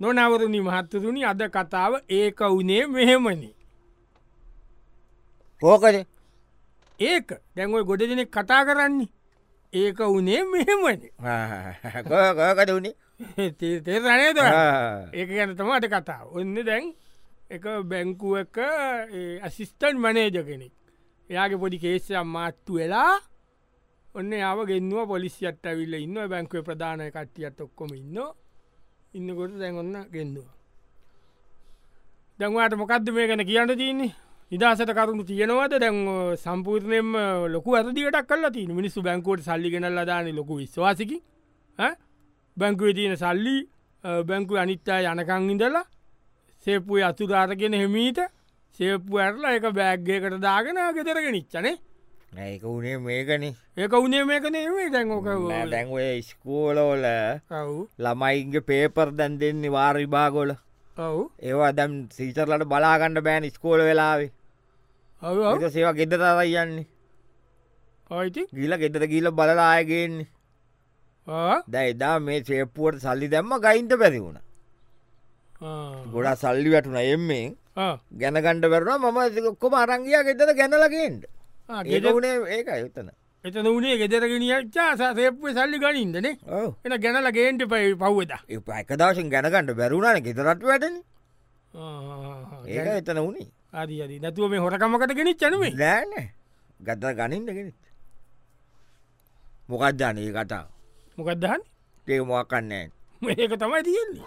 නොනවරුණි මහත්තතුනි අද කතාව ඒක වුණේ මෙහෙමනි. ඕකද ඒක දැන්වයි ගොඩ දෙනෙක් කතා කරන්නේ. ඒක වනේ මෙහෙමනි කෝකද වුණේ තේරණයද ආ. ඒක ගැනතම අද කතා ඔන්න දැන් එක බැංකුව එක ඇසිස්ටන් මනේජ කෙනෙක් එයාගේ පොඩි කේෂයම් මාත්තු වෙලා ඔන්න යාව ගෙන්ව පොලිසියට ඇවිල්ල ඉන්න බැංකුව ප්‍රධානය කට්ටියත් ඔක්කොම ඉන්න ඉන්නකොට දැන් ඔන්න ගෙන්දවා දැන්වාට මොකක්ද මේ ගැන කියන්න තියන්නේ නිදහසට කරුණු තියෙනවද දැන් ඔය සම්පූර්ණයෙන්ම ලොකු ඇතිකට කල ති මිනිස්සු බැංකෝට සල්ලිගෙනල්ල දාන ලොකු විශ්වාසකි බැංකුව තියෙන සල්ලි අ, බැංකු අනිත්තා යනකං ඉඳලා සේපුය අතුදාරගෙන හෙමීට සේපු ඇරලා එක බෑග්ගයකට දාගෙන ගෙතරගෙන ඉච්චනේ නැක වුණේ මේකන ඒක උනේ මේක නේ දැන් ඕක දැන්වේ ස්කෝලෝල ඔව් ළමයින්ගේ පේපර් දැන් දෙන්නේ වාර්විභාගොල ඔව් ඒවා දැම් සීතරලට බලාගණ්ඩ බෑන ස්කෝල වෙලාවේ ඔව් ඔව් ඒක සේවා ගෙද තරයි යන්නේ ඔයිති ගිල ගෙදර ගිල බලලායගෙන්නේ ආ දැ එදා මේ සේප්පුුවට සල්ලි දැම්ම ගයින්ට පැතිවුණ ආ. ගොඩා සල්ලි වැටුන එම්මෙන් ආ. ගැනගණ්ඩ වැරවා මම කොම අරංගිය ගෙදර ගැනලගෙන්ට ආ, ඒ ගෙදර- වුණේ ඒක යුත්තන එතන උනේ ගෙදරගෙනියච්චා සේප්පුය සල්ලි ගනින්දනේ ඕ එන ගැනල ගේන්ට පයි පව්වද එකදවශෙන් ගැනගණඩ බැරුණන ගෙදරට වැටන ඒක එතන වුණේ අදි අදි නැතුව මේ හොරකමකට ගෙනත් චනුවේ නෑන ගත ගනින්නගෙන මොකක්ජාන ඒ කතා මොකක්දහන් ඒ මොකන්නෑ ඒක තමයි තියෙන්නේ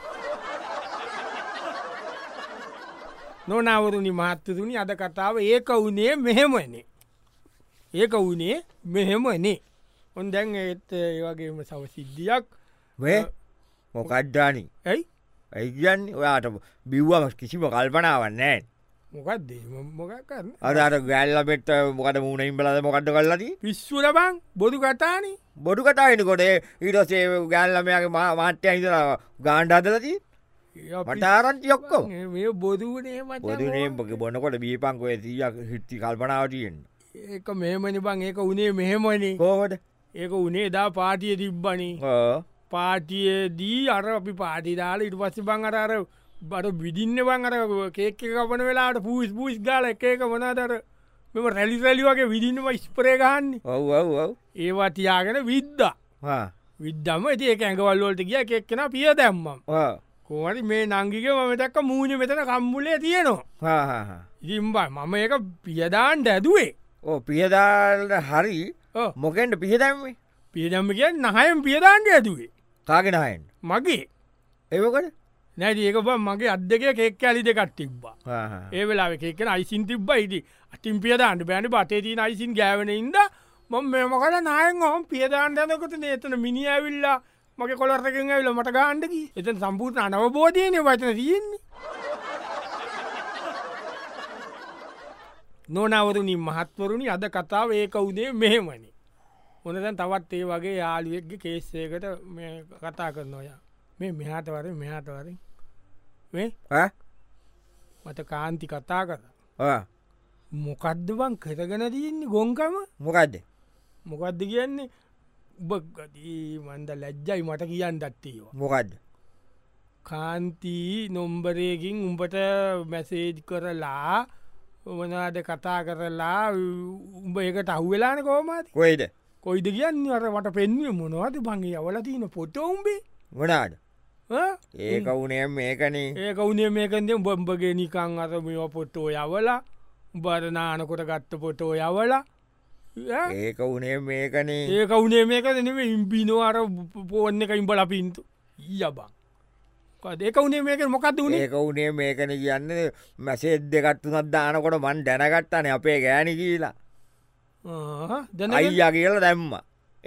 නොනවරුණි මහත්තතුනි අද කතාව ඒක වනේ මෙහෙමනේ ඒක වනේ මෙහෙමනේ ඔොන් දැන් ඒත් ඒ වගේම සව සිද්ධියක් වේ මොකක්ජානී ඇයි ඇයිගන් ඔයාට බිව්වම කිසිම කල්පනාවන්නෑ මොකක්දේ මොකක් කරන්න අදාට ගෑල්ල පෙට මොකට මුණයින් බලද මොකට කල්ලදී විශ්වල බං බොදු කතානේ බොඩු කතායිනකොටේ ඊටසේ ගෑල්ලමයාගේ මාට්‍ය හිතර ගාණ්ඩ අදලති ඒ අපි- පටාරන්ති ඔක්කෝ ඒ මේ බොදුනේ මචං. බොදුනේක බොනකොට බීපංකොය තිීයක් හිට්ටි කල්පනාවටයෙන් ඒක මෙහෙමනි බං ඒක උනේ මෙහෙමනේ කෝවට ඒක උනේ දා පාටිය තිබ්බනේ පාටියදී අර අපි පාටිදාල ඉට පස්ස බං අරර බට බිඩින්න බං අර කේක්ක කපන වෙලාට පූස් පූස් ගාල එක එක වනාදර මෙම රැලිසැලි වගේ විදින්නම ස්පරේගන්නේ ඔව් ඔව් ඔව් ඒවා තියාගෙන විද්ද ආ, විද්දම ඇති ඒ ඇඟවල්ලෝට ගිය කෙක්කෙන පිය දැම්මම් ආ, කෝමට මේ නංගික මතක්ක මූුණ මෙතන කම්බුලේ තියෙනවා ආ, ආ, ආ. ඉතිම්බා මම ඒක පියදාන්ට ඇදුවේ ඕ පියදාල්ට හරි ඕ. මොකෙන්ට පිහදැම්මේ පියදම්ම කිය නහයම් පියදාන්ට ඇදුවේ කාගෙනහයෙන් මගේ ඒකට නැති ඒක බ මගේ අත් දෙක කෙක් ඇලි දෙකක් තිබ්බා ඒ වෙලා එකෙන අයිසින් තිබ්බ ඉදි අතින් පියදාන්ට බෑන පටේ තින අයිසින් ගෑවෙන ඉද මොම මෙම කල නායෙන් හොම පියදාන්ටනකොට නේතන මිනි ඇවිල්ලා මගේ කොලර්රකෙන් ඇවිල මට ගාන්ඩකි එතන් සම්පූර්ණ අනවබෝධයනය වචන තියෙන්නේ නොනවරුණින් මහත්වරුණි අද කතාව ඒක උදේ මෙහෙමනි හොනදැන් තවත් ඒ වගේ යාලුවෙක්ගේ කේස්සයකට මේ කතා කරන ඔය මේ මෙහාටවර මෙහාටවරින් මේ මට කාන්ති කතා කර මොකද්ද බං කරගෙන තියන්නේ ගොංකම මොකක්ද මොකක්ද කියන්නේ උබගදී මන්ද ලැජ්ජයි මට කියන්න දත්තේවා මොකක්ද කාන්තී නොම්බරයකින් උඹට මැසේජ් කරලා වනාද කතා කරලා උඹ එකට අහුවෙලාන කෝමති කොයිද කොයිද කියන්නේ අර මට පෙන්ුවේ මොනවද බංගේ අවල තියන පොටෝම්බේ වනාට ඒක වුණේ මේකනේ ඒක උනේ මේකන්දේ බම්බගේ නිකං අරමෝ පොට්ටෝ යවලා බරනානකොට ගත්ත පොටෝ යවලා ඈ? ඒක වුණේ මේකනේ ඒක උනේ මේක දෙනම ඉම්පිනෝ අර පෝර්න එක ඉම්බල පින්තු යබං ඒක උනේ මේක මොකක්ද වුණේ ඒක වුණේ මේකන කියන්න මැසේද් දෙකත්තුනත් දානකොට මන් දැනගත්තන අපේ ගෑන කියලා දැන අයිය කියල දැම්ම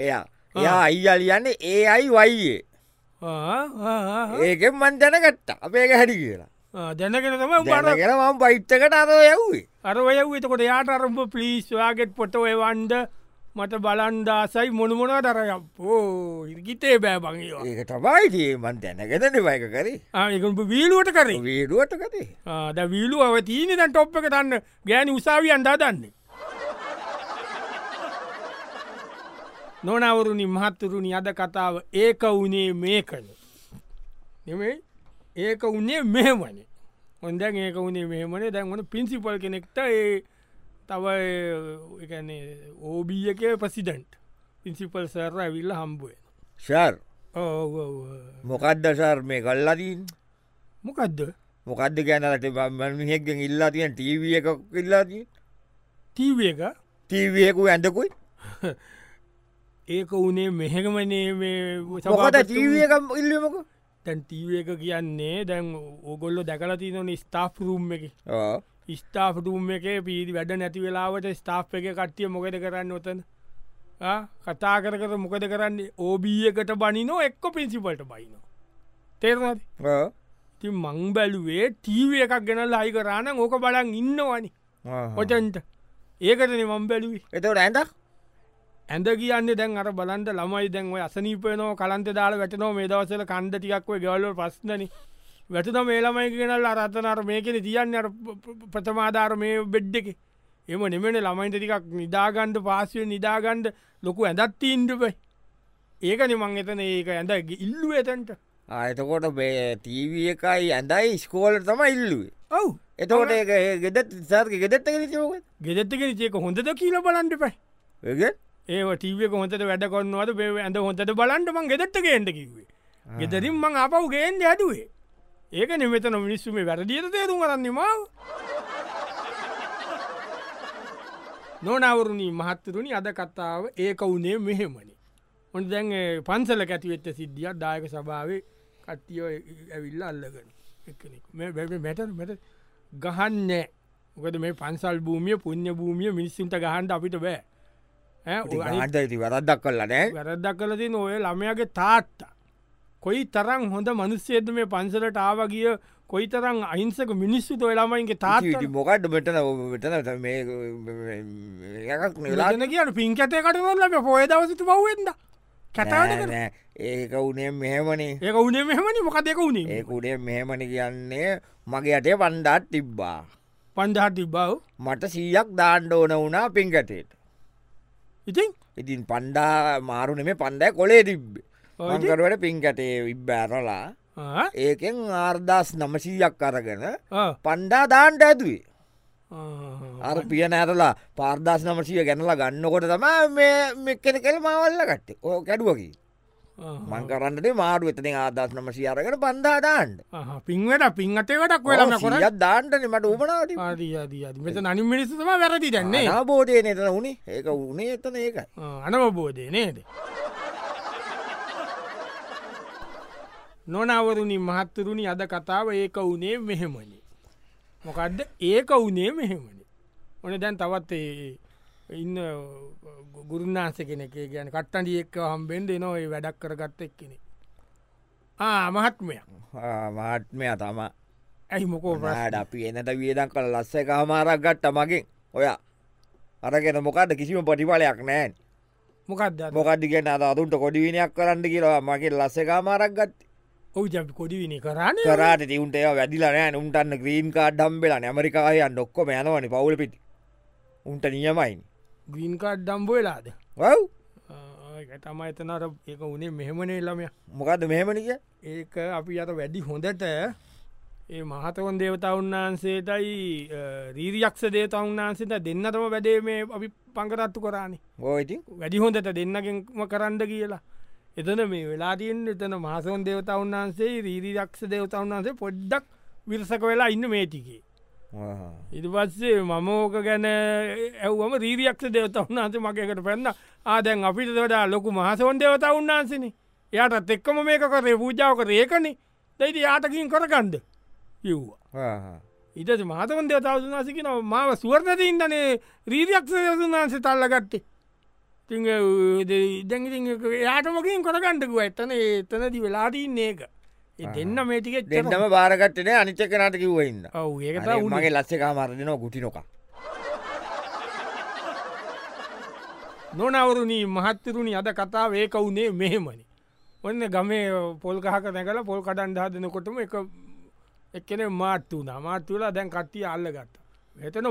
එයා එයා අයිය ලියන්නේ ඒ අයි වයියේ ඒකෙන් මන් දැනගත්තා අපේ හැඩි කියලා දැනගෙන තම බර දැනගෙන මම පයිත්තකට අර යව්වේ අරවයවතකොට යාට අරම්භ පිලිස්වාගෙත් පොටවයවන්ඩ මට බලන්දාසයි මොනමොනා දරයක් පෝ ඉර්ගිතේ බෑ බංවා ඒක තබයිතිේ මන් දැනගෙනට වයක කරේ ආයකුම්ප වීලුවට කරේ වීඩුවට කතේ ආ, දැන් වීලුව තීන දැන් ටොප් එක තන්න ගෑනි උසාවි අන්දා දන්නේ නොනවරුණි මහත්තුරුණි අද කතාව ඒක වනේ මේකන නෙමේ ඒක උනේ මෙහෙමනේ හොඳැන් ඒක උනේ මෙහෙමනේ දැන් ඕන පින්සිපල් කෙනෙක්ට ඒ තව එකනේ ඕබී එක ප්‍රසිඩන්ට් පින්සිපල් සර ඇවිල්ල හම්බුවෙන ශර් ඕ මොකක්ද සර් මේ කල්ලාදීන් මොකක්ද මොකක්ද ගැනලට මිහෙක්ගෙන් ඉල්ලා තියෙන ටීවිය එකක් ඉල්ලාදී තීව එක ටීවියකු ඇඳකුයි ඒක උනේ මෙහෙකමනේ මේ මොකද සභාපතිතුමා- ටීවියක ඉල්ලමක දැන් ටීව එක කියන්නේ දැන් ඕගොල්ලො දැකලා තියනන ස්ථාප් රුම් එක ස්ථාප් රුම් එක පිරි වැඩ නැති වෙලාවට ස්ථාප් එක කට්ටිය මොකද කරන්න ඔතන ආ? කතා කර කර මොකද කරන්නේ ඕබී එකට බනිනෝ එක්ක පින්සිිපල්ට බයිනෝ තේරනද ති මං බැලුවේ ටීව එකක් ගෙනල් අයි කරන්න ඕක බලන් ඉන්නවනි ඔොටන්ට ඒකටන මං බැලුවේ එතවට ඇඳක් ඇඳ කියන්නේ දැන් අර බලන්ට ළමයි දැන්ව අසනීපයනෝ කලන්ත දාල වැටනෝ මේ දවසල කණ්ඩ ටිකක්ව ගෙවල්ල පස්සනන වැටත මේළමයි කෙනල් අරත්තනර මේකෙන තියන්න අර ප- ප- ප්‍රථමාධාර මේ බෙඩ් එක එම නෙමෙන ළමයින්ට ටිකක් නිදාගණ්ඩ පාසුවෙන් නිදාගණ්ඩ ලොකු ඇඳත්ති ඉන්ඩුපයි ඒකන මං එතන ඒක ඇඳ ඉල්ලුව එතන්ට එතකොට ටීවිය එකයි ඇඳයි ස්කෝල තම ඉල්ලුවේ ඔව් එතකොට ඒ ගෙදත් සාර්ක ගෙදත්ත කිරිචෝක ගෙදත්තකෙන චේක හොඳද කියල බලන්ට පයි ඒ ඒ ටීවක හොඳට වැඩ කොන්නවද බේ ඇඳ හොඳට බලන්ටම ගෙදට ගේෙන්ට කිවේ ගෙදරින් මං අපව් ගේෙන්ද ඇඩුවේ ඒක නෙමතන මිනිස්සුම වැරදිියට තේරුම් කරන්න මාව නොනවරුණී මහත්තරුණි අද කතාව ඒක වුණේ මෙහෙමනි ඔොන් දැන් ඒ පන්සල කැතිවෙච්ච සිද්ධියක් දායක සභාවේ කට්ටියෝ ඇවිල්ල අල්ලගෙන එක්කෙනෙක්. මේ බැ- බැ- මැට මට ගහන්න ගද මේ පන්සල් භූමිය පුුණ්‍ය භූමිය මිනිස්සුන්ට ගහන්ඩ අපිට බෑ ඈ, ඔය අනිත් හන්ට ඇති වරද්දක් කල්ලා නෑ වැරද්දක් කලති නොය ළමයගේ තාත්තා. කොයි තරම් හොඳ මනුස්සේද මේ පන්සලට ආවගිය කොයි තරම් අහිංසක මිනිස්සු තොයලාමයින්ගේ ඉතින් තාත්ත මොකක්ඩ මෙටන මෙටන එකක් නෙලා ලාන කියන පින් කැතයකට නොල්ලම පොය දවසතු පව්වෙන්ද කැතාට නෑ, ඒක උනේ මෙහෙමනේ ඒක උනේ මෙහමනි මොකදක වුණේ ඒකුඩේ මෙහෙමණ කියන්නේ මගේ අටේ පණ්ඩාත් තිබ්බා පන්දහටි බව මට සීයක් දාණ්ඩ ඕන වුනා පින්කටේට ඉතින් ඉතින් පණ්ඩා මාරුන මේ පණ්ඩෑ කොලේ තිබ්බේ ඔය ඉතින්. මංකරුවට පින්කටේ විබ්බෑරලා ආ, ඒකෙන් ආර්දස් නමසීයක් අරගෙන ආ, පණ්ඩා දාන්ට ඇතුවේ ආ. අර පිය නෑරලා පාර්දස් නමසීය ගැනලා ගන්නකොට තමා මේ කෙන කෙල් මවල්ල ගට්ට ඕ කැඩුවකි මංකරන්නට මාරු එතන ආදස් නමසී අරගෙන පණ්ඩා දාන්ඩ ආහා, පින්වට පින් අතේකටක් වෙලම කර දාන්ටන මට උපනාට මෙත නනි මිනිස්සම වැරදි දැන්නේ නාබෝධය නතන වුණේ ඒක වනේ එතන ඒකයි අනවබෝධය නේද නොනවරුණි මහත්තුරුණි අද කතාව ඒක වනේ මෙහෙමනි මොකක්ද ඒක වනේ මෙහෙමනි ඕන දැන් තවත් ඒ ඉන්න ගුරුන්නාස කෙනෙක ගැන කට්ටඩිය එක්ක හම්බෙන්ද නොයි වැඩක් කරගත්ත එක් කෙනෙ මහත්මය මාත්මය තම ඇයි මොකෝ ප්‍රශ්න? නාඩ අපි එනට වියදන් කළ ලස්ස එක හමාරක් ගට්ට මගින් ඔයා අරගෙන මොකද කිසිම පටිපලයක් නෑන් මොකක්ද අද? මොකක්දිගෙන අද අතුන්ට කොඩිවිනයක් කරන්න කියලා මගේ ලස්ස එකමාරක් ගත් ඔව් ජැපි කොඩිවිනි කරන්න කරට තිවුන්ට ඒ වැදිලනෑ උන්ටන්න ග්‍රීන් කාඩ් හම්බෙලා ඇමරිකායන් ඔක්කොම යනවනි පවුල පිටි උන්ට නියමයින් ග්‍රීන්කාඩ් ඩම්බෝ වෙලාද වව් තමයි එතනට ඒක උනේ මෙහෙමනේ ළමය මොකද මෙහෙමනික ඒක අපි අත වැඩි හොඳට ඒ මහතවන් දේවතවුන් වහන්සේටයි රීරියක්ෂ දේතවුන් වහන්සේට දෙන්නටම වැඩේ මේ අපි පංකරත්තු කරන්නේ ගෝයිති වැඩි හොඳට දෙන්නගෙන්ම කරන්න කියලා එතන මේ වෙලාටයෙන් එතන මහසවන් දේවතවුන් වහන්සේ රීරියක්ෂ දේවතවුන් වහන්සේ පොඩ්ඩක් විරසක වෙලා ඉන්න මේටිකේ ඉට පස්සේ මම ඕක ගැන ඇව්වම රීරියක්ෂ දෙවත උන්නාන්සේ මකකට පැන්න ආදැන් අපිට වඩා ලොකු මහසවන් දෙවත උන්නාන්සන යාටත් එක්කම මේක කරේ පූජාව කරේකන දැයිති යාටකින් කරකන්ද යව්වා ඉට මහතවන් දෙවතවසනාසිකන මාව සුවර්ණති ඉදනේ රීරියක්ෂ දෙවතුන්නාන්සේ තල්ලගත්තේ දැ යාටමකින් කරගණ්ඩකුව ඇත්තන එතනති වෙලාදීන්න ඒක ඒ දෙන්න මේටිකෙත් දෙන්නම බාරගට්ටන අනිච්චක නාට කිව්වඉන්න ඔව් ඒකත අනේ උ මගේ ලස්ස එකමාරදිනවා ගුටිනොක නොනවරුණී මහත්තරුණි අද කතා ඒක වුණේ මෙහෙමනි. ඔන්න ගමේ පොල් ගහක නැකල පොල් කඩන් හදනකොටම එක එක්කෙන මාට්තුූ නමාට්තුවලා දැන් කට්ටිය අල්ල ගත්ත. එතන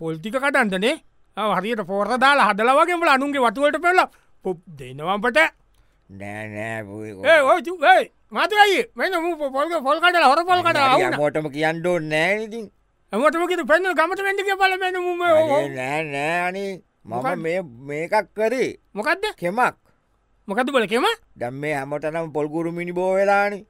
පොල්තික කටන්ටනේ ආ, හරියට පෝර දාලා හදලා වගේම අනුන්ගේ වතුවට පෙල්ල පොප් දෙනවම්පට ඒ නෑනෑ ඔයි තුයි මතයි මෙන්න මු පොල්ග පොල් කට හොර පොල් කට අවුන මෝටම කියන්නඩ නෑනති ඇමටමකිට පැන්න ගමට වැඩික පල මෙන මුම නෑනෑනේ මම මොකක්ද? මේ මේකක් කරේ මොකක්ද කෙමක් මොකද බල කෙම දැම් මේ හැමටනම් පොල්ගුරු මිනි බෝවෙලානි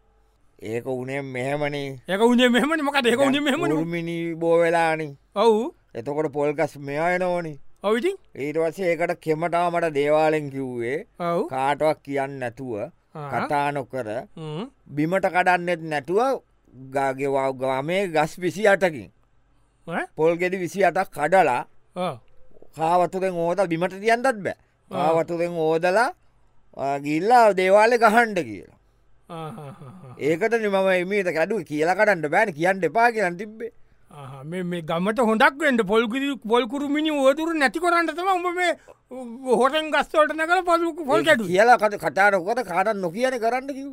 ඒක උනේ මෙහෙමනේ එක උදේ මෙහමන මොකද එක උදේ මෙහම මිනි බෝවෙලානි ඔවු එතකොට පොල්ගස් මෙයාය නෝනි ඔවිතින් ඊට වස්සේ ඒකට කෙමටා මට දේවාලෙන් කිව්වේ ඔවු කාටවක් කියන්න නැතුව කතානොකර බිමට කඩන්නෙත් නැතුව ගාගෙවා ගාමේ ගස් විසි අටකින් පොල්ගෙඩි විසි අටක් කඩලා කාවතුරෙන් ඕෝද බිමට තියන්ටත් බෑ කාවතුරෙන් ඕෝදලා ගිල්ලා දේවාලෙ ගහන්ඩ කියලා ඒකට නිමම එමීට කැඩු කියලා කඩන්න බෑන කියන්න එපා කියන්න තිබ්බේ මේ ගමට හොඳක් වෙන්ට පොල්කිරි පොල්කුරු මිනි ෝදුරු නැති කොරන්නතම උඹ මේ හොටන් ගස්වලට නැකල පොල්කු පොල් ඒක කැටු කියලා කට කටාරකොට කාටන් නොකියන කරන්න කිව්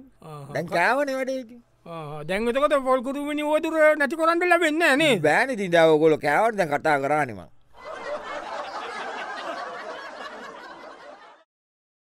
දැන් කෑවන වැඩේ දැන්ගතකොට පොල්කුරු මිනි ෝදුර නැති කොරන්න ලබෙන්න නේ බෑන තිදාවගොල කෑවට දැන් කතා කරානිම